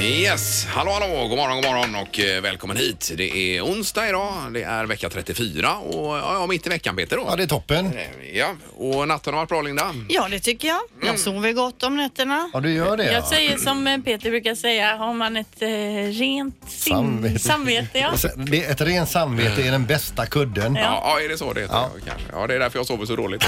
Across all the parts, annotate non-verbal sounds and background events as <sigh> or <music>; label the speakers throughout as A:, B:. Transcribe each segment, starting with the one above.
A: Yes, hallå hallå, god morgon, god morgon och eh, välkommen hit. Det är onsdag idag, det är vecka 34 och ja, ja, mitt i veckan Peter då. Eh,
B: Ja, det är toppen.
A: Ja, och natten har varit bra Linda.
C: Ja, det tycker jag. Jag sover gott om nätterna.
B: Ja, du gör det.
D: Jag säger som eh, Peter brukar säga, har man ett eh, rent sin-
B: Samvete.
D: samvete ja.
B: Och sen, det, ett rent samvete är den bästa kudden.
A: Ja, ja är det så det heter? Ja. Kanske. ja, det är därför jag sover så dåligt.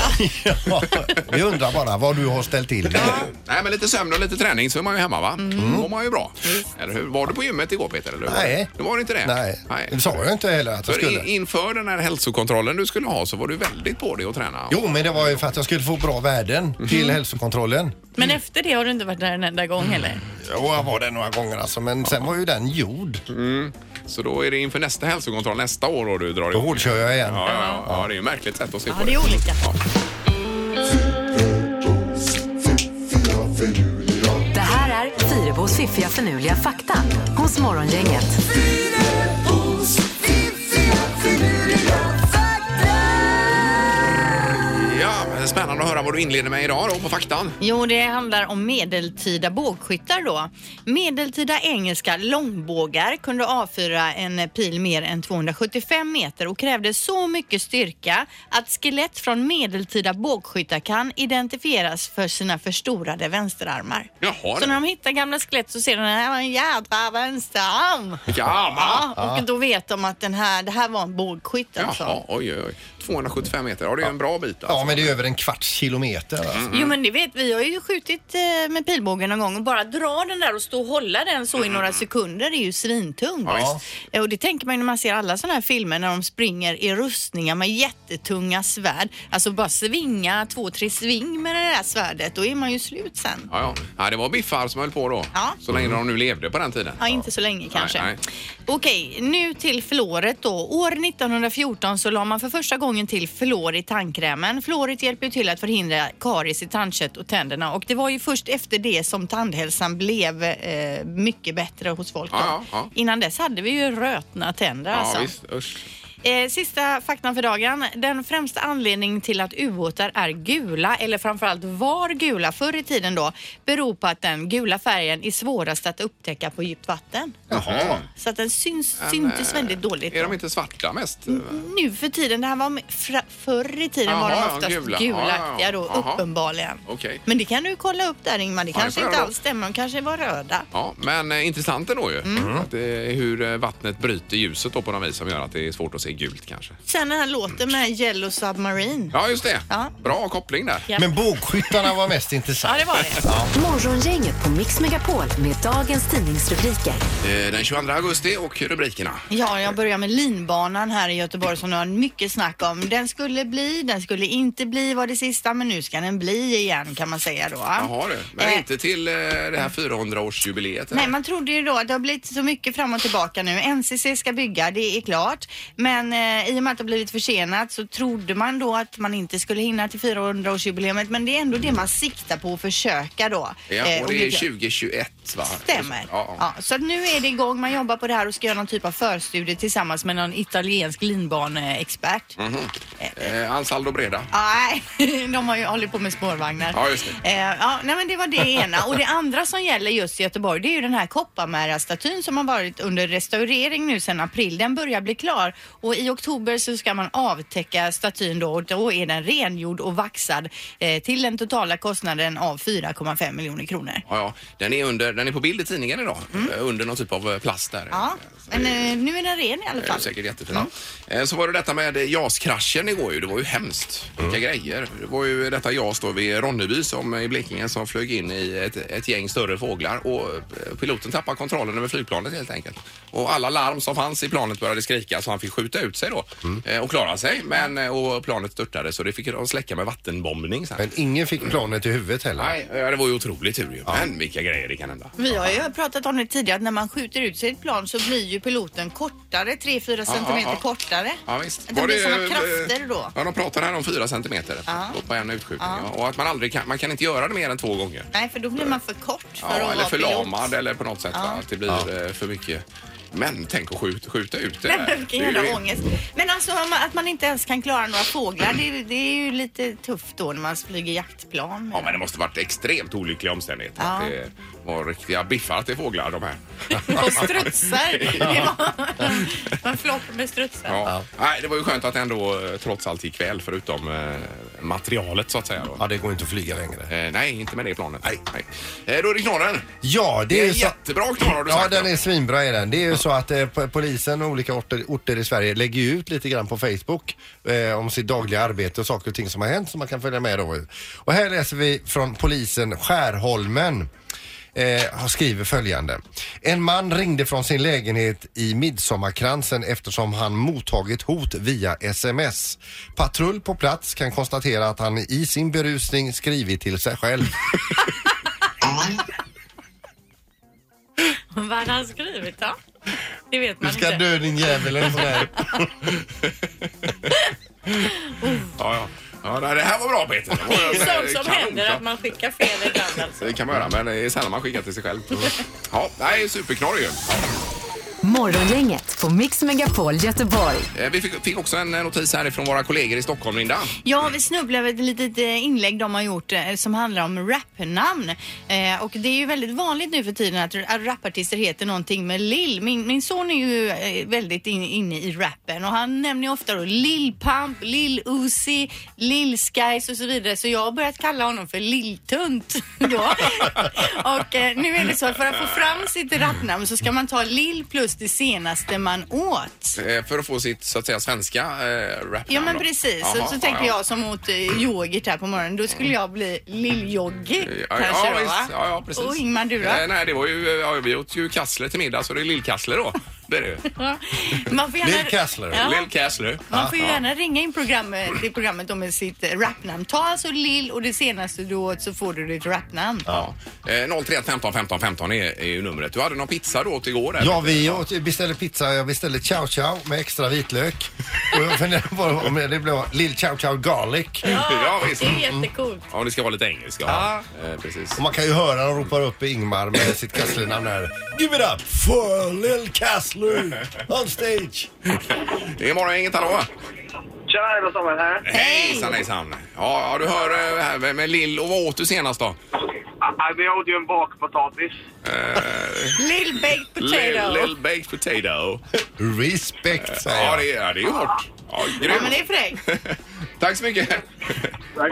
B: Ja, <laughs> Vi undrar bara vad du har ställt till det.
A: Nej, men lite sömn och lite träning så är man ju hemma va? Då mår man ju bra. Eller hur? Var du på gymmet igår Peter? Eller hur?
B: Nej.
A: Det var det inte det?
B: Nej, det sa jag inte heller att jag
A: För in,
B: skulle.
A: inför den här hälsokontrollen du skulle ha så var du väldigt på dig att träna.
B: Jo, men det var ju för att jag skulle få bra värden till hälsokontrollen.
D: Men efter det har du inte varit där en enda gång heller.
B: Jo, jag var där några gånger alltså, men sen var ju den gjord.
A: Så då är det inför nästa hälsokontroll nästa år då du drar
B: Då
A: igång.
B: hårdkör jag igen.
A: Ja, ja, ja, ja, det är ju ett märkligt sätt att se på
D: Ja, det är olika.
E: Det här är Fyrabos fiffiga förnuliga fakta hos Morgongänget.
A: Ja, men spännande att höra vad du inleder med idag då på faktan.
C: Jo, det handlar om medeltida bågskyttar då. Medeltida engelska långbågar kunde avfyra en pil mer än 275 meter och krävde så mycket styrka att skelett från medeltida bågskyttar kan identifieras för sina förstorade vänsterarmar.
A: Jaha,
C: Så när de hittar gamla skelett så ser de här var en jädra vänsterarm.
A: ja, va?
C: Ja, och då vet de att den här, det här var en bågskytt alltså.
A: Jaha, oj, oj, oj. 275 meter, ja det är ju en bra bit alltså.
B: Ja, men det är över en kvarts kilometer. Alltså.
C: Jo men det vet vi, har ju skjutit eh, med pilbågen någon gång och bara dra den där och stå och hålla den så i några sekunder det är ju svintungt.
A: Ja,
C: Eh, Och det tänker man ju när man ser alla sådana här filmer när de springer i rustningar med jättetunga svärd. Alltså bara svinga två, tre sving med det där svärdet, då är man ju slut sen.
A: Ja, ja. ja, det var biffar som höll på då.
C: Ja.
A: Så länge de nu levde på den tiden.
C: Ja, inte så länge kanske.
A: nej.
C: Okej, nu till fluoret då. År 1914 så la man för första gången till fluor i tandkrämen. Fluoret hjälper ju till att förhindra karies i tandkött och tänderna och det var ju först efter det som tandhälsan blev eh, mycket bättre hos folk. Då.
A: Ja, ja, ja.
C: Innan dess hade vi ju rötna tänder alltså.
A: Ja, visst. Usch.
C: Eh, sista faktan för dagen. Den främsta anledningen till att ubåtar är gula, eller framförallt var gula förr i tiden då, beror på att den gula färgen är svårast att upptäcka på djupt vatten.
A: Jaha.
C: Så att den syns,
A: Men,
C: syntes
A: eh,
C: väldigt dåligt.
A: Är
C: då.
A: de inte svarta mest?
C: Nu för tiden, det här var med- fra, förr i tiden var de
A: Jaha, ja,
C: oftast
A: gula.
C: gulaktiga då,
A: Ja, ja, ja.
C: uppenbarligen.
A: Okej.
C: Men det kan du kolla upp där Ingmar, det
A: det
C: kanske
A: får jag
C: inte
A: göra.
C: alls stämmer, de kanske var röda.
A: Ja, men eh, intressant ändå ju.
C: Mm.
A: Att det är hur eh, vattnet bryter ljuset då på något vis som gör att det är svårt att se gult kanske.
C: Sen den här låten med Yellow Submarine.
A: Ja, just det.
C: Ja.
A: Bra koppling där.
D: Ja.
B: Men bågskyttarna var mest
D: Ja,
B: intressant.
D: det var det.
E: Morgongänget på Mix Megapol med dagens tidningsrubriker.
A: Eh, Den 22 augusti och rubrikerna.
C: Ja, jag börjar med linbanan här i Göteborg som det var mycket snack om. Den skulle bli, den skulle inte bli var det sista, men nu ska den bli igen kan man säga då.
A: Jaha du, men
C: Eh,
A: inte till eh, det här 400-årsjubileet?
C: Nej, man trodde ju då att det har blivit så mycket fram och tillbaka nu. NCC ska bygga, det är klart. Men eh, i och med att det har blivit försenat så trodde man då att man inte skulle hinna till 400-årsjubileet. Men det är ändå det man siktar på att försöka då.
A: Ja,
C: Eh,
A: och det är
C: lyckas-
A: 2021 va?
C: Stämmer.
A: Ja,
C: Ja,
A: ja.
C: så att nu är det igång, man jobbar på det här och ska göra någon typ av förstudie tillsammans med någon italiensk linbaneexpert.
A: Mm. Eh, Ansaldo Breda.
C: Nej, <laughs> de har ju hållit på med spårvagnar.
A: Ja, just
C: det. Eh, ja, nej, men det var det ena. Och det andra som gäller just i Göteborg, det är ju den här Kopparmära-statyn som har varit under restaurering nu sedan april. Den börjar bli klar och i oktober så ska man avtäcka statyn då och då är den rengjord och vaxad eh, till den totala kostnaden av 4,5 miljoner kronor.
A: Ja, ja. Den, är under, den är på bild i tidningen idag, eh, under någon typ av eh, plast där.
C: Mm. Ja,
A: Så
C: men
A: det är-
C: eh, nu är den ren i alla
A: det är
C: fall.
A: Säkert jättefina. Eh, Så var det detta med eh, JAS-kraschen igår ju. Det var ju hemskt. Vilka grejer. Det var ju detta JAS då vid Ronneby som eh, i Blekinge som flög in i ett, ett gäng större fåglar och eh, piloten tappade kontrollen över flygplanet helt enkelt. Och alla larm som fanns i planet började skrika så han fick skjuta ut sig då eh, och klara sig. Men eh, och planet störtade så det fick de släcka med vattenbombning sen.
B: Men ingen fick planet i huvudet heller.
A: Nej, ja, det var ju otroligt tur ju. Men vilka grejer det kan hända.
C: Vi har ju pratat om det tidigare att när man skjuter ut sig i ett plan så blir ju piloten kortare, 3-4 centimeter
A: ja.
C: kortare.
A: Ja, visst.
C: Att det blir såna krafter då.
A: Ja, de pratar här om fyra centimeter
C: Ja.
A: på en utskjutning. Ja. Och att man aldrig kan, man kan inte göra det mer än två gånger.
C: Nej, för då blir man för kort för
A: Ja,
C: att
A: eller
C: vara <laughs>
A: förlamad
C: pilot.
A: eller på något sätt. Va? Att det blir eh, för mycket. Men tänk att skjuta, skjuta ut det
C: Nej,
A: där.
C: men vilken
A: Det är ju-
C: jävla ångest. Men alltså om man- att man inte ens kan klara några fåglar, det, är- det är ju lite tufft då när man flyger jaktplan.
A: Ja, men det måste varit extremt olyckliga omständigheter.
C: Ja.
A: Att det var riktiga biffar till fåglar de här.
C: Och strutsar.
A: <laughs>
C: Det <laughs> var en flock med strutsar.
A: Ja. Nej, det var ju skönt att det ändå eh, trots allt gick väl förutom eh, materialet så att säga. Då.
B: Ja, det går inte att flyga längre.
A: Eh, nej, inte med det planet. Nej. Eh, då är det knorren.
B: Ja, det,
A: Det är
B: ju så-
A: jättebra knorr har du
B: Ja,
A: sagt.
B: den är svinbra är den. Det är ju så att eh, po- polisen och olika orter, orter i Sverige lägger ju ut lite grann på Facebook eh, om sitt dagliga arbete och saker och ting som har hänt som man kan följa med då. i. Och här läser vi från polisen Skärholmen. Eh, har skriver följande. En man ringde från sin lägenhet i Midsommarkransen eftersom han mottagit hot via sms. Patrull på plats kan konstatera att han i sin berusning skrivit till sig själv.
D: Vad hade han skrivit då? Det vet
B: Du
D: man
B: ska
D: inte.
B: dö din jävel eller sådär.
A: Ja, ja. ja, nej, det här var bra Peter. Det var,
D: Det är
A: eh,
D: sånt som
A: kanon,
D: händer
A: ja.
D: att man skickar fel ibland alltså.
A: Det kan man göra, men det är sällan man skickar till sig själv. Ja, nej, superknorr ju.
E: Morgongänget på Mix Megapol Göteborg.
A: Eh, Vi fick, fick också en eh, notis här från våra kollegor i Stockholm, Linda.
C: Ja, vi snubblade över ett litet eh, inlägg de har gjort eh, som handlar om rapnamn. Eh, och det är ju väldigt vanligt nu för tiden att r- att rapartister heter någonting med Lill. Min, min son är ju eh, väldigt in, inne i rappen och han nämner ju ofta då Lill Pump, Lill Uzi, Lill Skies och så vidare. Så jag har börjat kalla honom för <laughs> Lilltunt då. och eh, nu är det så att för att få fram sitt rapnamn så ska man ta Lill plus det senaste man åt.
A: Eh, För att få sitt, så att säga, svenska eh, rap.
C: Ja men precis, så,
A: Jaha,
C: så tänker
A: ja, ja.
C: jag som åt eh, yoghurt här på morgonen, då skulle jag bli lill-Jogge
A: Ja,
C: kanske
A: ja,
C: då va?
A: visst. Ja, ja, precis.
C: Och Ingmar du då?
A: Eh, nej, det var ju, eh, ja, vi åt ju kassler till middag, så det är lillkassler då. Det är det ju.
C: Man får
B: Lill Kassler.
C: Ja.
A: Lillkassler.
C: Man får ju gärna ringa in programmet, i programmet då med sitt eh, rapnamn. Ta alltså Lill och det senaste du åt så får du ditt rapnamn.
A: Ja. Eh, 031 15 15 15 är, är ju numret. Du hade någon pizza då åt igår? Där.
B: Ja, vi åt, beställde pizza. Jag beställde chow chow med extra vitlök. Och jag funderade på om det blev lill chow chow garlic.
A: <laughs> ja, visst.
D: Det är jättecoolt.
A: Ja, det ska vara lite engelska. Ja. Eh, precis.
B: Och man kan ju höra de ropar upp Ingmar med sitt kasslernamn här. Give it up for Lill Kassler on stage.
A: Det är morgongänget, hallå!
F: Tjena, det var Samuel här.
A: Hejsan, hejsan! Ja, ja, du hör eh, här med- med Lill. Och vad åt du senast då?
F: Ah, Vi åt ju en bakpotatis.
C: Lill baked
A: Lill,
C: potato.
A: lill baked potato.
B: Respekt säger
A: Ja,
B: jag.
A: det är, ja, det är ju hårt. Ja,
C: Ja
A: grymt.
C: men det är fräckt.
A: Tack så mycket!
F: Tack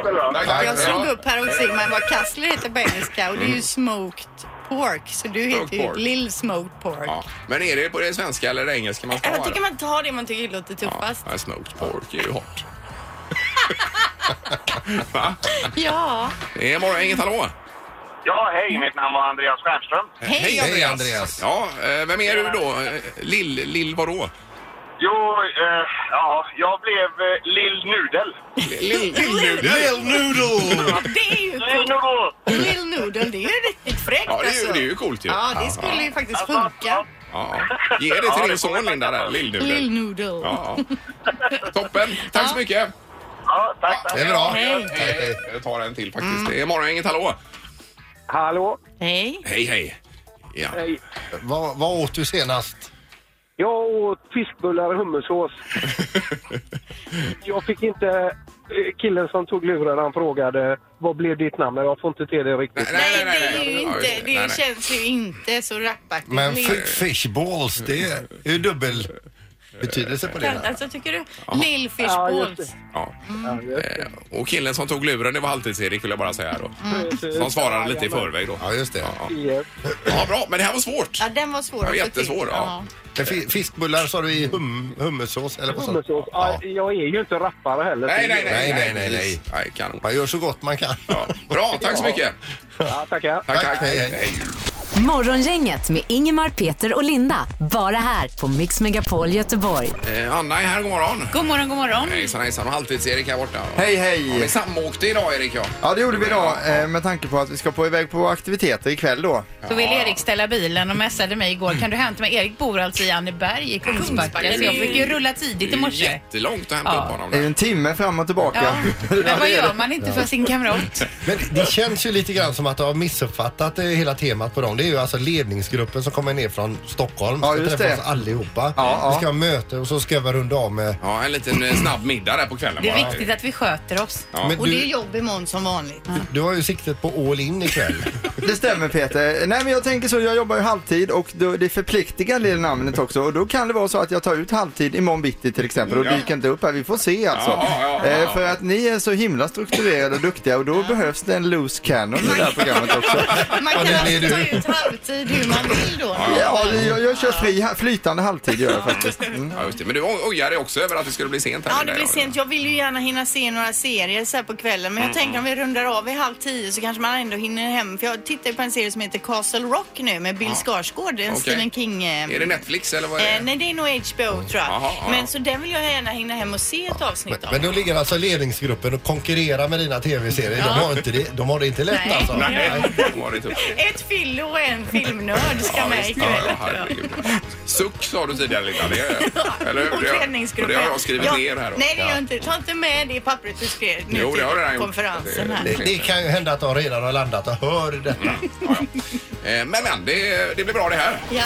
F: ska du ha.
A: Tack, tack.
C: Jag slog
A: Ja.
C: upp här hos Ingmar vad kassler heter på engelska och det är ju smoked pork. Så du heter ju
A: pork.
C: Lill smoked pork.
A: Ja. Men är det på det svenska eller det engelska man ska
D: Jag
A: ha
D: tycker
A: det?
D: man tar det man tycker låter tuffast.
A: Ja, smoked pork är ju hårt. Va?
D: Ja.
A: Det är morgongänget, hallå!
F: Ja, hej, mitt namn var Andreas Stjernström.
A: Hej,
B: Hej, Andreas.
A: Ja, eh, vem är du då? Eh, Lill, Lill vadå?
F: Jo, eh, ja, jag blev eh, Lill Nudel.
A: Lill, lill
B: Lill Noodle!
C: Det är ju
F: Lill Nudel!
C: Lill Noodle, det är ju riktigt fräckt
A: Ja, det är ju,
C: alltså.
A: det är ju coolt ju.
C: Ja, det skulle ju faktiskt
F: Alltså,
C: funka.
A: Ja. Ge det till
F: Ja,
A: din
F: det får
A: son
F: vi
A: Linda där,
C: Lill
A: lill
C: Noodle.
A: ja. ja. Toppen, tack så mycket.
F: Ja, tack, tack.
B: Det är bra.
D: Hej.
B: Tack, hej.
A: Eh, Jag tar en till faktiskt.
C: Mm.
A: Det är morgongänget, hallå!
G: Hallå?
D: Hej.
A: Hej, hej. Ja.
G: Hej.
B: Vad, vad åt du senast?
G: Jag åt fiskbullar och
F: <laughs>
G: hummersås. jag fick inte... eh, Killen som tog luren han frågade vad blev ditt namn? Jag får inte till det riktigt.
C: Nej, det är
A: Ja,
C: ju
A: just
C: inte,
A: Nej,
C: det
A: nej.
C: känns ju inte så rappaktigt.
B: Men
C: Lill-
B: fi- fishballs, det är ju dubbel betydelse på det.
D: Alltså, tycker du?
C: Lill Fish
G: Ja, just
C: Balls.
A: Ja.
G: Ja,
C: Mm.
G: just det.
A: Eh, Och killen som tog luren, det var Halvtids-Erik vill jag bara säga då.
C: Mm.
A: Som svarade lite i förväg då.
B: Ja, just det.
A: Ja,
G: Yes.
A: ja bra. Men det här var svårt.
C: Ja, den var svår
A: Ja,
C: att få
A: jättesvår,
C: till.
A: ja.
B: Men fi- fiskbullar sa du i hum, hummersås eller vad sa du?
G: Hummersås. Ja, jag är ju inte rappare heller.
A: Nej, nej, nej.
B: Nej, nej, nej, nej.
A: nej kanon.
B: Man gör så gott man kan.
A: Ja. Bra, tack så mycket.
G: Ja, tackar.
A: Tack,
B: Tack,
A: tack.
B: hej, hej.
A: Hej.
E: Morgongänget med Ingemar, Peter och Linda. Bara här på Mix Megapol Göteborg.
A: Eh, Anna är här, god morgon.
D: God morgon, god morgon.
A: Hejsan, hejsan. Och Halvtids-Erik här borta.
H: Hej
A: Ja, vi
H: hej!
A: samåkte idag, Erik. Ja.
H: Ja det gjorde vi idag eh, med tanke på att vi ska på iväg på aktiviteter ikväll då.
D: Så vill Erik ställa bilen och messade mig igår. Kan du hämta mig? Erik bor alltså i Anneberg i Kungsbacka. Så jag fick ju rulla tidigt i
A: Det är ju
D: morse.
A: jättelångt att hämta
D: Ja.
A: upp honom.
H: Det är ju
A: där.
H: en timme fram och tillbaka.
D: Ja, men vad
H: det är
D: gör
H: det.
D: man inte för sin kamrat?
B: Men det känns ju lite grann som att du har missuppfattat eh, hela temat på dem. Det är ju alltså ledningsgruppen som kommer ner från Stockholm.
H: Ja,
B: Ska
H: just
B: träffas
H: det.
B: allihopa.
H: Ja, ja.
B: Vi ska ha möte och så ska vi runda av med...
A: Ja, en liten eh, snabb middag där på kvällen
D: Det är
A: bara.
D: viktigt att vi sköter oss.
A: Ja.
B: Men
C: Och det är
B: du,
C: jobb imorgon som vanligt.
B: du har ju siktet på all in ikväll.
H: <laughs> Det stämmer Peter. Nej men jag tänker så, jag jobbar ju halvtid och då, det förpliktigar det namnet också och då kan det vara så att jag tar ut halvtid imorgon bitti till exempel och
A: Ja.
H: dyker inte upp här. Vi får se alltså.
A: Ja, ja, ja.
H: Eh, för att ni är så himla strukturerade och duktiga och då behövs det en loose cannon i det
A: <laughs>
H: här programmet också.
C: Man
B: Ja,
C: kan
B: det
C: alltså
B: blir
C: ta
B: du.
C: ut halvtid hur man vill då.
H: Ja, det- jag, jag kör fri, ha- flytande halvtid gör jag faktiskt. Mm.
A: Ja, just det. Men du o- ojar dig också över att det skulle bli sent här
C: Ja,
A: med
C: det
A: dig,
C: blir
A: då.
C: sent. Jag vill ju gärna hinna se några serier så här på kvällen. Men jag tänker om vi rundar av vid halv tio så kanske man ändå hinner hem. För jag tittar ju på en serie som heter Castle Rock nu med Bill Skarsgård. En
A: Okej.
C: Stephen King... eh,
A: Är det Netflix eller vad
C: Eh,
A: är det?
C: nej, det är nog HBO tror jag.
A: Jaha, ja.
C: Men så den vill jag gärna hinna hem och se ett avsnitt av.
B: Men då ligger alltså ledningsgruppen och konkurrerar med dina tv-serier. De, har inte det, de har det inte lätt
D: Nej.
B: alltså.
A: Nej, det var det typ.
C: Ett fillo och en filmnörd ska
A: Ja,
C: med
A: visst. Ja,
C: ikväll.
A: ja, herregud. Suck sa du tidigare Linda, det är, eller hur?
C: Och
A: Det har-
C: träningsgruppen.
A: Det har jag skrivit
C: Ja,
A: ner här då.
C: Nej, det gör jag inte. Ta inte med det i pappret du skrev nu
A: Jo, det
C: till
A: har jag redan gjort.
C: konferensen
A: Det-
C: här.
B: Det, det kan ju hända att de redan har landat och hör detta.
A: Eh, Men men, det, det blir bra det här.
C: Ja.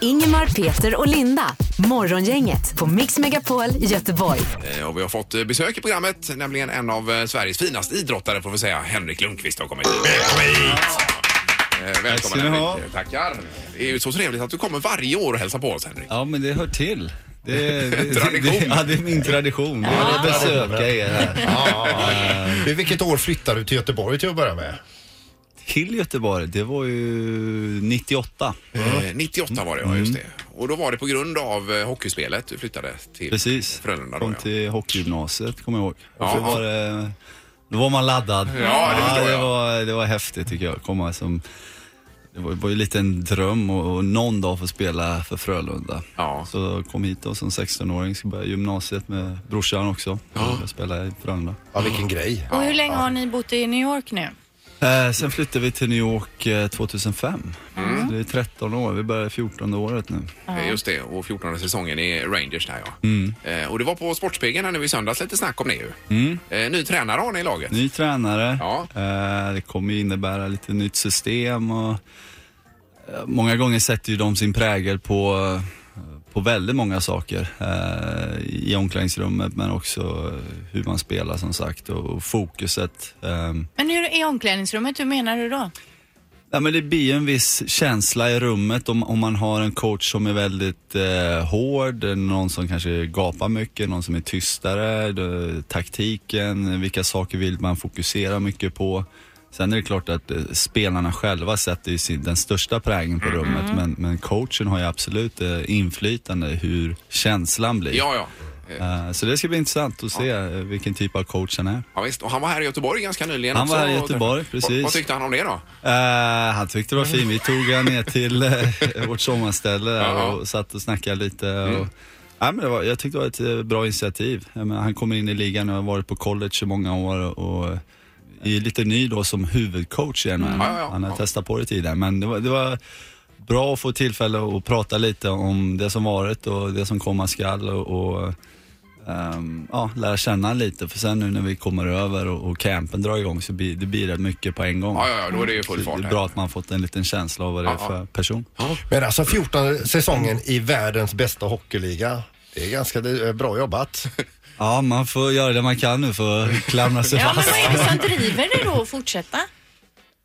E: Ingemar, Peter och Linda. Morgongänget på Mix Megapol Göteborg.
A: Eh, Och vi har fått eh, besök i programmet, nämligen en av eh, Sveriges finaste idrottare får vi säga, Henrik Lundqvist har kommit hit. Eh,
I: ska
A: Välkommen
I: ni
A: Henrik.
I: ha.
A: Eh, Tackar. Det är ju så trevligt att du kommer varje år och hälsar på oss Henrik.
I: Ja, men det hör till. Det, det, det,
A: Tradition.
I: det, ja, det är min tradition. Det är att besöka er här.
B: I vilket år flyttade du till Göteborg till att börja med?
I: Till Göteborg, det var ju 98.
A: Eh, 98 var det ja, just det.
I: Mm.
A: Och då var det på grund av eh, hockeyspelet du flyttade till
I: Precis.
A: Frölunda då
I: Kom
A: ja.
I: till hockeygymnasiet, kommer jag ihåg.
A: Ja.
I: Och så var det, då var man laddad.
A: Ja, det förstår
I: det,
A: jag.
I: var, det var häftigt tycker jag. Komma som, det var, var ju lite en dröm och, och någon dag få spela för Frölunda.
A: Ja.
I: Så jag kom hit då som 16-åring, ska börja gymnasiet med brorsan också. Jag spelade i Frölunda.
B: Ja, vilken grej.
C: Och hur länge har ni bott i New York nu?
I: Eh, sen flyttade vi till New York eh, 2005. Så det är 13 år, vi börjar 14 året nu.
A: Eh, Just det, och 14 säsongen i Rangers där ja.
I: Mm.
A: Eh, Och det var på Sportspegeln här nu i söndags lite snack om det ju. Eh, Ny tränare har ni i laget.
I: Mm. Ny tränare,
A: Ja.
I: eh, det kommer ju innebära lite nytt system och eh, många gånger sätter ju de sin prägel på, eh, på väldigt många saker eh, i omklädningsrummet men också eh, hur man spelar som sagt och, och fokuset. ehm,
C: Men hur är omklädningsrummet? Hur menar du då?
I: Ja, men det blir en viss känsla i rummet om, om man har en coach som är väldigt eh, hård, någon som kanske gapar mycket, någon som är tystare, då, taktiken, vilka saker vill man fokusera mycket på. Sen är det klart att eh, spelarna själva sätter ju sin, den största prägen på rummet men, men coachen har ju absolut eh, inflytande hur känslan blir.
A: Ja, ja. Eh,
I: Eh, så det ska bli intressant att se eh, vilken typ av coach han är.
A: Ja, visst. Och han var här i Göteborg ganska nyligen
I: Han
A: också.
I: var här i Göteborg,
A: Vad,
I: precis.
A: vad tyckte han om det då?
I: Eh, han tyckte det var fint. Vi tog han ner till eh, vårt sommarställe
A: Ja. Mm.
I: där och satt och snackade lite. Och, ja, men det var, jag tyckte det var ett eh, bra initiativ. Jag menar, han kommer in i ligan och har varit på college i många år och eh, är lite ny då som huvudcoach i NHL.
A: Mm. Ja, ja, ja.
I: Han har
A: Ja.
I: testat på det tidigare men det var, det var bra att få tillfälle att prata lite om det som varit och det som komma skall och, och ehm, ja, lära känna lite. För sen nu när vi kommer över och, och campen drar igång så blir det blir rätt mycket på en gång.
A: Ja, ja, ja, då är det ju full
I: Så
A: fart
I: Det
A: här.
I: är bra att man fått en liten känsla av vad det är
A: Ja, ja.
I: för person.
B: Men alltså 14 säsongen i världens bästa hockeyliga. Det är ganska det är bra jobbat.
I: Ja, man får göra det man kan nu för
A: <laughs>
I: att klamra sig
C: Ja, men
I: fast.
C: vad är det som driver dig då att fortsätta?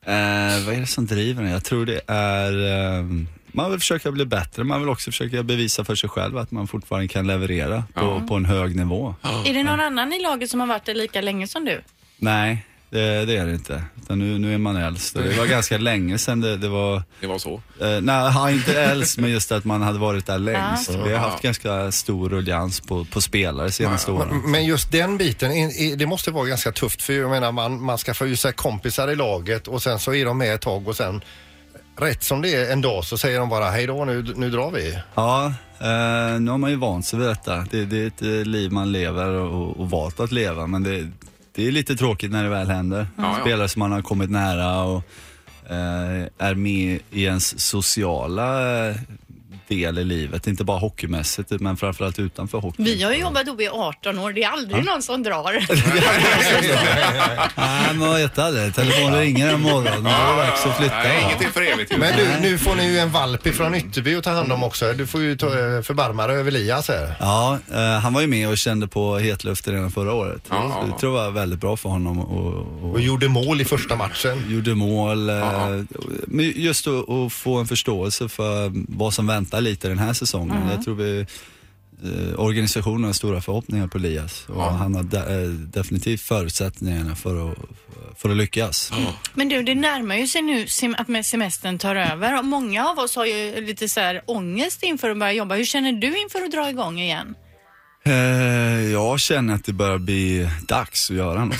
I: Eh, vad är det som driver en? Jag tror det är ehm, man vill försöka bli bättre, man vill också försöka bevisa för sig själv att man fortfarande kan leverera på, på en hög nivå.
C: Är det någon annan i laget som har varit där lika länge som du?
I: Nej, det, det är det inte. Utan nu, nu är man äldst. Det var
A: <laughs>
I: ganska länge sedan det, det var...
A: Det var så.
I: Eh, nej, han är inte äldst, men just att man hade varit där längst. Vi har haft
A: Ja.
I: ganska stor ruljans på, på spelare senaste åren.
B: Men just den biten, i- i- det måste vara ganska tufft för jag menar man, man ska få ju sig kompisar i laget och sen så är de med ett tag och sen rätt som det är en dag så säger de bara hej då nu, nu drar vi.
I: Ja, eh, nu har man ju vant sig vid detta. Det, det är ett eh, liv man lever och, och valt att leva, men det, det är lite tråkigt när det väl händer.
A: Ja, ja.
I: Spelare som man har kommit nära och eh, är med i ens sociala eh, del i livet. Inte bara hockeymässigt men framförallt utanför hockey.
C: Vi
I: <laughs>
C: har ju jobbat ihop i 18 år. Det är aldrig någon som drar.
I: Nej, men vad heter det? Telefonen ringer en morgon. Nu är det dags att flytta.
A: Nej, inget är för evigt. ju.
B: Men du, nu får ni ju en valp ifrån Ytterby att ta hand om också. Du får ju ta, eh, förbarma dig över Lias här.
I: Ja, eh, han var ju med och kände på hetluft redan förra året.
A: Ja, ja,
I: Så
A: ja.
I: det tror jag var väldigt bra för honom och,
B: Och
I: och
B: gjorde mål i första matchen.
I: gjorde mål. eh,
A: Ja,
I: Men just att, att få en förståelse för vad som väntar lite den här säsongen. Jag tror vi eh, Organisationen har stora förhoppningar på Elias och han har de, eh, definitivt förutsättningarna för att, för att lyckas.
C: Men du, det närmar ju sig nu sem- att med semestern tar över. Och många av oss har ju lite så här ångest inför att börja jobba. Hur känner du inför att dra igång igen?
I: Eh, Jag känner att det börjar bli dags att göra något.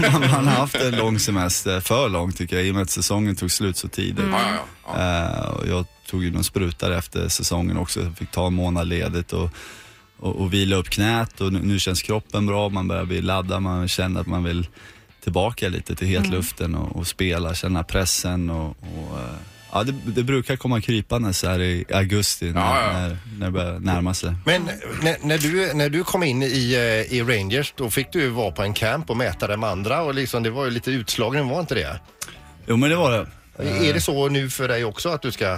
I: <laughs> man, man har haft en lång semester, för lång tycker jag, i och med att säsongen tog slut så tidigt.
A: Ja, ja, ja.
I: Eh, och jag tog ju någon spruta där efter säsongen också, jag fick ta en månad ledigt och, och, och vila upp knät och nu, nu känns kroppen bra, man börjar bli laddad, man känner att man vill tillbaka lite till hetluften och, och spela, känna pressen och, och eh, Ja, det, det brukar komma krypande så här i augusti när,
A: Ja, ja.
I: när, när det börjar närma sig.
B: Men när, när, du, när du kom in i, eh, i Rangers, då fick du ju vara på en camp och mäta de andra och liksom, det var ju lite utslagen, var inte det?
I: Jo, men det var det.
B: Är det så nu för dig också att du ska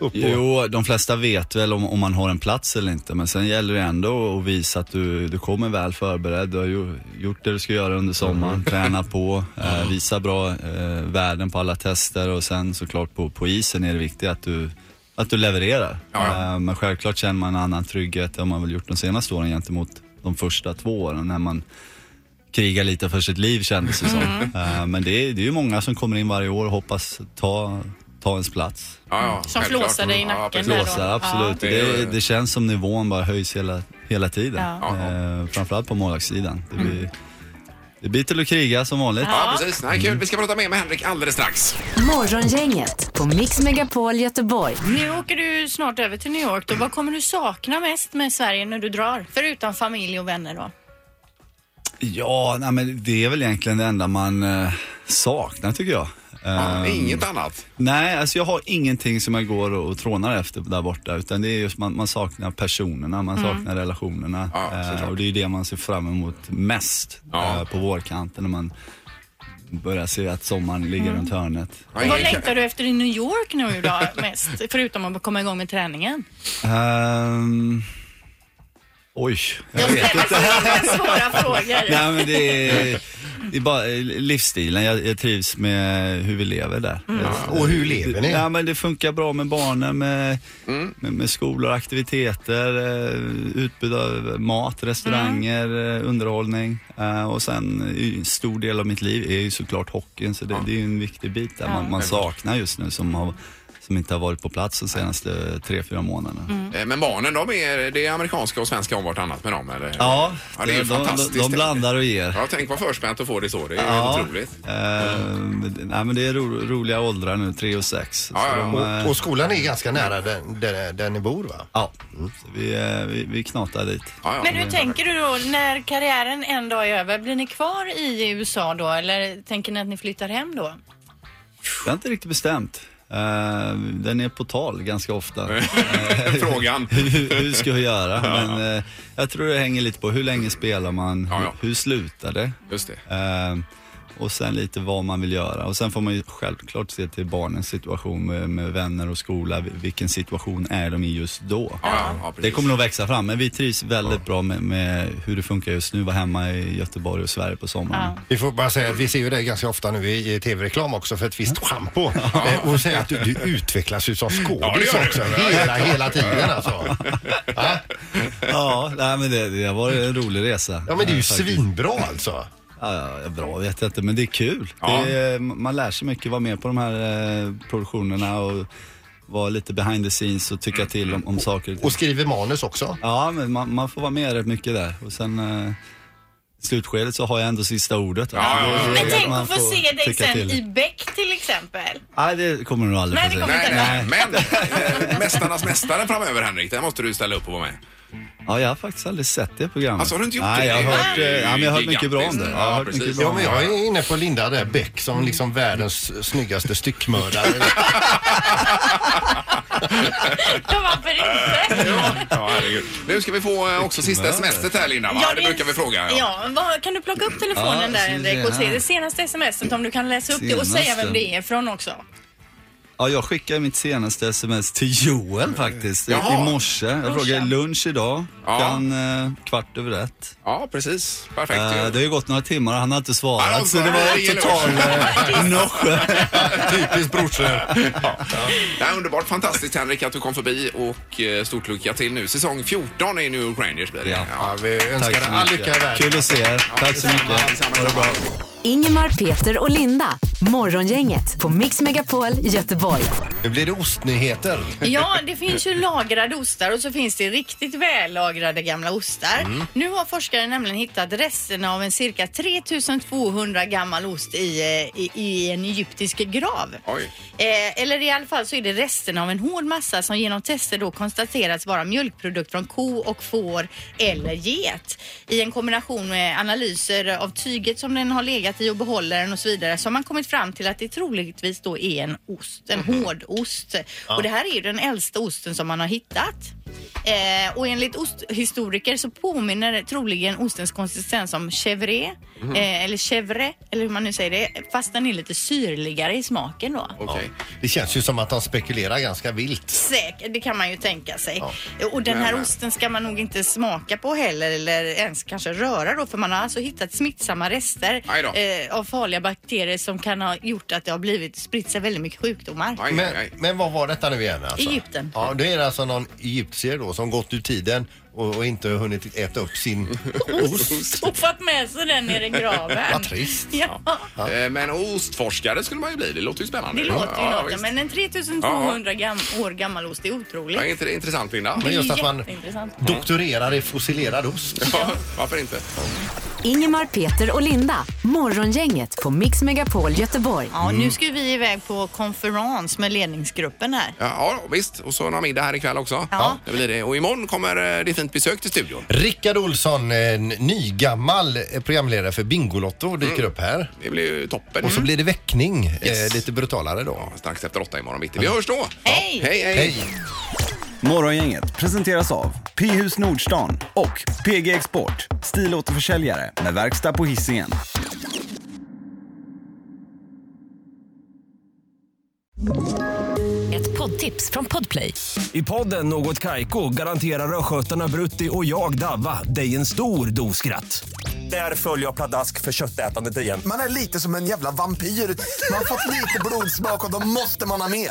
B: upp och...
I: Jo, de flesta vet väl om, om man har en plats eller inte, men sen gäller det ändå att visa att du, du kommer väl förberedd. Du har ju, gjort det du ska göra under sommaren,
A: Mm.
I: träna
A: <laughs>
I: på, eh, visa bra eh, värden på alla tester och sen såklart på, på isen är det viktigt att du, att du levererar.
A: Ja, ja.
I: Eh, men självklart känner man en annan trygghet än man väl gjort de senaste åren gentemot de första två åren när man krigar lite för sitt liv kändes det som.
A: Mm.
I: Eh, men det är, det är ju många som kommer in varje år och hoppas ta, ta ens plats.
A: Ja, ja,
C: Som
A: självklart. Mm,
C: flåsar dig i
A: Ja,
C: nacken
A: precis.
C: där då.
I: Blåsar, Alltså, absolut.
A: Ja.
I: Det, det känns som nivån bara höjs hela, hela tiden.
C: Ja.
I: Eh, framförallt på målvaktssidan. Det blir, det blir till att kriga som vanligt.
A: Mm. Ja, precis. Nej, kul. Vi ska prata mer med Henrik alldeles strax.
E: Morgongänget på Mix Megapol Göteborg.
C: Nu åker du snart över till New York. Då. Vad kommer du sakna mest med Sverige när du drar? Förutom familj och vänner då?
I: Ja, nej, men det är väl egentligen det enda man eh, saknar tycker
A: Ja,
I: jag. Eh,
A: inget annat.
I: Nej, alltså jag har ingenting som jag går och, och trånar efter där borta. Utan det är just man, man saknar personerna, man
A: Mm.
I: saknar relationerna.
A: Ja,
I: Eh,
A: såklart.
I: och det är ju det man ser fram emot mest
A: Ja.
I: eh, på vårkanten när man börjar se att sommaren ligger
A: Mm.
I: runt hörnet.
A: Ja,
C: Vad
A: inget-
C: längtar du efter i New York nu då mest? Förutom att komma igång med träningen.
I: Ehm, oj, jag vet inte. <laughs>
C: Svåra frågor.
I: Nej, men det är, det är bara eh, livsstilen. Jag, jag trivs med hur vi lever där. Jag-
B: Och hur lever ni?
I: Ja, men det funkar bra med barnen, med, med, med skolor, aktiviteter, eh, utbud av mat, restauranger, eh, underhållning. Eh, Och sen eh, en stor del av mitt liv är ju såklart hockeyn, så det, det är ju en viktig bit där man, man saknar just nu som, har, som inte har varit på plats de senaste tre, fyra månaderna.
A: Eh, Men barnen, de är, det är amerikanska och svenska om vartannat med dem, eller?
I: Ja,
A: Ja, det är ju
I: de, de,
A: fantastiskt.
I: de blandar och ger.
A: Ja, tänk vad förspänt att få det så. Det är otroligt.
I: Ehm, det- nej, men det är ro, roliga åldrar nu, tre och sex.
A: Ja, ja,
I: så de, eh,
B: Och, och skolan är ganska nära där, där, där ni bor va?
I: ja. Så vi, eh, vi, vi knatar dit.
A: Ja, ja.
C: Men hur tänker du då när karriären en dag är över? Blir ni kvar i USA då eller tänker ni att ni flyttar hem då?
I: Det är inte riktigt bestämt. Ehm, den är på tal ganska
A: <laughs>
I: ofta.
A: <laughs> Frågan.
I: hur, hur ska jag göra? Men eh, jag tror det hänger lite på hur länge spelar man,
A: Ja, ja.
I: Hur, hur slutar det?
A: Just det.
I: Ehm, och sen lite vad man vill göra. Och sen får man ju självklart se till barnens situation med, med vänner och skola. Vil- Vilken situation är de i just då?
A: Ja, ja, ja, precis.
I: Det kommer nog växa fram, men vi trivs väldigt bra med, med hur det funkar just nu, vara hemma i Göteborg och Sverige på sommaren.
B: Vi får bara säga att vi ser ju dig ganska ofta nu i i tv-reklam också för ett visst schampo. Eh, Och säga att du, du utvecklas ju som
A: Ja, det
B: skådis
A: gör du.
B: också. Hela, hela tiden alltså. Ja,
I: Ja, nej, men det, det har varit en rolig resa.
B: Ja, men det är ju
I: Eh, faktiskt.
B: svinbra alltså.
I: Ja, ja, bra vet jag inte, men det är kul.
A: Ja.
I: Det är, man lär sig mycket, vara med på de här eh, produktionerna och vara lite behind the scenes och tycka till om, om saker.
B: Och skriver manus också.
I: Ja, men man, man får vara med rätt mycket där. Och sen eh, i slutskedet så har jag ändå sista ordet.
A: Ja, ja, ja.
I: Det är
C: Men
I: att
C: tänk
I: man
C: att få
I: får
C: se dig
I: tycka
C: sen
I: till.
C: i Beck till exempel.
I: Nej, det kommer du nog aldrig
C: Nej,
I: få
C: det
I: se.
C: kommer
A: Nej, nej. Men eh, Mästarnas mästare framöver, Henrik, där måste du ställa upp och vara med.
I: Ja, jag har faktiskt aldrig sett det programmet.
A: Alltså, har du inte gjort
I: Nej,
A: det?
I: Jag har hört, eh,
A: Det är
I: ja, men jag har hört mycket bra om det.
A: gigantiskt.
I: Jag har
A: Ja,
I: hört
A: precis.
I: mycket bra
B: Ja,
I: om
B: men
I: det.
B: jag är inne på Linda där, Beck,
A: Mm.
B: som liksom världens snyggaste styckmördare. <laughs>
D: Ja, varför inte?
A: Ja, ja, herregud. Nu ska vi få eh, också sista smset här Linda, va? det
J: är-
A: brukar vi fråga. Ja.
J: Ja, vad, kan du plocka upp telefonen
I: Ja,
J: där
I: ska vi
J: Henrik
I: se
J: och se
I: här.
J: det senaste smset om du kan läsa upp det och säga
I: Senaste.
J: vem det är från också.
I: Ja, jag skickade mitt senaste sms till Joel faktiskt. i-
A: Jaha.
I: I morse. Jag frågade lunch idag.
A: Ja.
I: Klockan eh, kvart över ett.
A: ja, precis. Perfekt.
I: Eh, det har
A: ju.
I: ju gått några timmar och han har inte
A: Han har inte
I: svarat. Så det
A: svarat.
I: var
A: Det gäller
I: total eh, noche.
B: Typiskt brorsor.
A: Det är underbart fantastiskt Henrik att du kom förbi och eh, stort lycka till nu. Säsong 14 är New York Rangers blir det.
I: Ja.
B: Ja, vi önskar dig all lycka i världen.
I: Kul att se er. Tack så mycket.
A: Detsamma,
I: Ha det bra.
A: detsamma.
E: Ingemar, Peter och Linda. Morgongänget på Mix Megapol Göteborg.
B: Nu blir det ostnyheter.
C: Ja, det finns ju lagrade ostar och så finns det riktigt vällagrade gamla ostar. Nu har forskare nämligen hittat resterna av en cirka 3200 gammal ost i, eh, i, i en egyptisk grav.
A: Oj.
C: Eh, eller i alla fall så är det resterna av en hård massa som genom tester då konstaterats vara mjölkprodukt från ko och får eller get. I en kombination med analyser av tyget som den har legat i och behållaren och så vidare så har man kommit fram till att det troligtvis då är en ost, en hård ost. Och det här är ju den äldsta osten som man har hittat. Eh, och enligt osthistoriker så påminner troligen ostens konsistens om chèvre, eh, eller chèvre, eller hur man nu säger det, fast den är lite syrligare i smaken då.
A: Okej.
B: Det känns ju som att han spekulerar ganska vilt.
C: Säkert, det kan man ju tänka sig. Och den här
A: Men- eh,
C: osten ska man nog inte smaka på heller eller ens kanske röra då för man har alltså hittat smittsamma rester
A: Aj då.
C: eh, av farliga bakterier som kan ha gjort att det har blivit spritt sig väldigt mycket sjukdomar.
A: Aj, aj,
B: Men,
A: aj.
B: men vad var detta nu igen? Alltså?
C: Egypten.
B: Ja, det är alltså någon egyptier då som gått ur tiden och, och inte hunnit äta
A: <laughs>
B: upp sin ost.
J: Och fått med sig den ner i graven.
B: Vad trist.
J: Ja,
A: Eh, Men ostforskare skulle man ju bli. Det låter ju spännande.
J: det låter ju
A: Ja,
J: något.
A: visst.
J: Men en 3200 gam år gammal ost, det är otroligt.
A: Ja, inte det är intressant Linda?
B: Men just att man
J: Jätteintressant.
B: doktorerar i fossilerad ost.
A: Ja, varför inte?
E: Ingemar, Peter och Linda. Morgongänget på Mix Megapol Göteborg.
C: Ja,
A: Mm.
C: nu ska ju vi iväg på konferens med ledningsgruppen här.
A: Ja, ja, visst. Och så några middag här ikväll också.
C: Ja.
A: Det blir det. Och imorgon kommer eh, det fint besök till studion.
B: Rickard Olsson, en nygammal eh, programledare för Bingolotto, dyker
A: Mm.
B: upp här.
A: Det blir ju toppen.
K: Mm.
B: Och så blir det väckning,
A: Yes.
B: eh, lite brutalare då.
A: Strax efter åtta imorgon bitti. Vi hörs då!
C: Hej!
A: Hej, hej!
B: Hej!
K: Morgongänget presenteras av P-hus Nordstan och PG Export, stilåterförsäljare med verkstad på Hisingen.
E: Ett poddtips från Podplay.
K: I podden Något Kaiko garanterar östgötarna Brutti och jag, Davva, dig en stor dos skratt. Där följer jag pladask för köttätandet igen.
G: Man är lite som en jävla vampyr. Man har fått lite blodsmak och då måste man ha mer.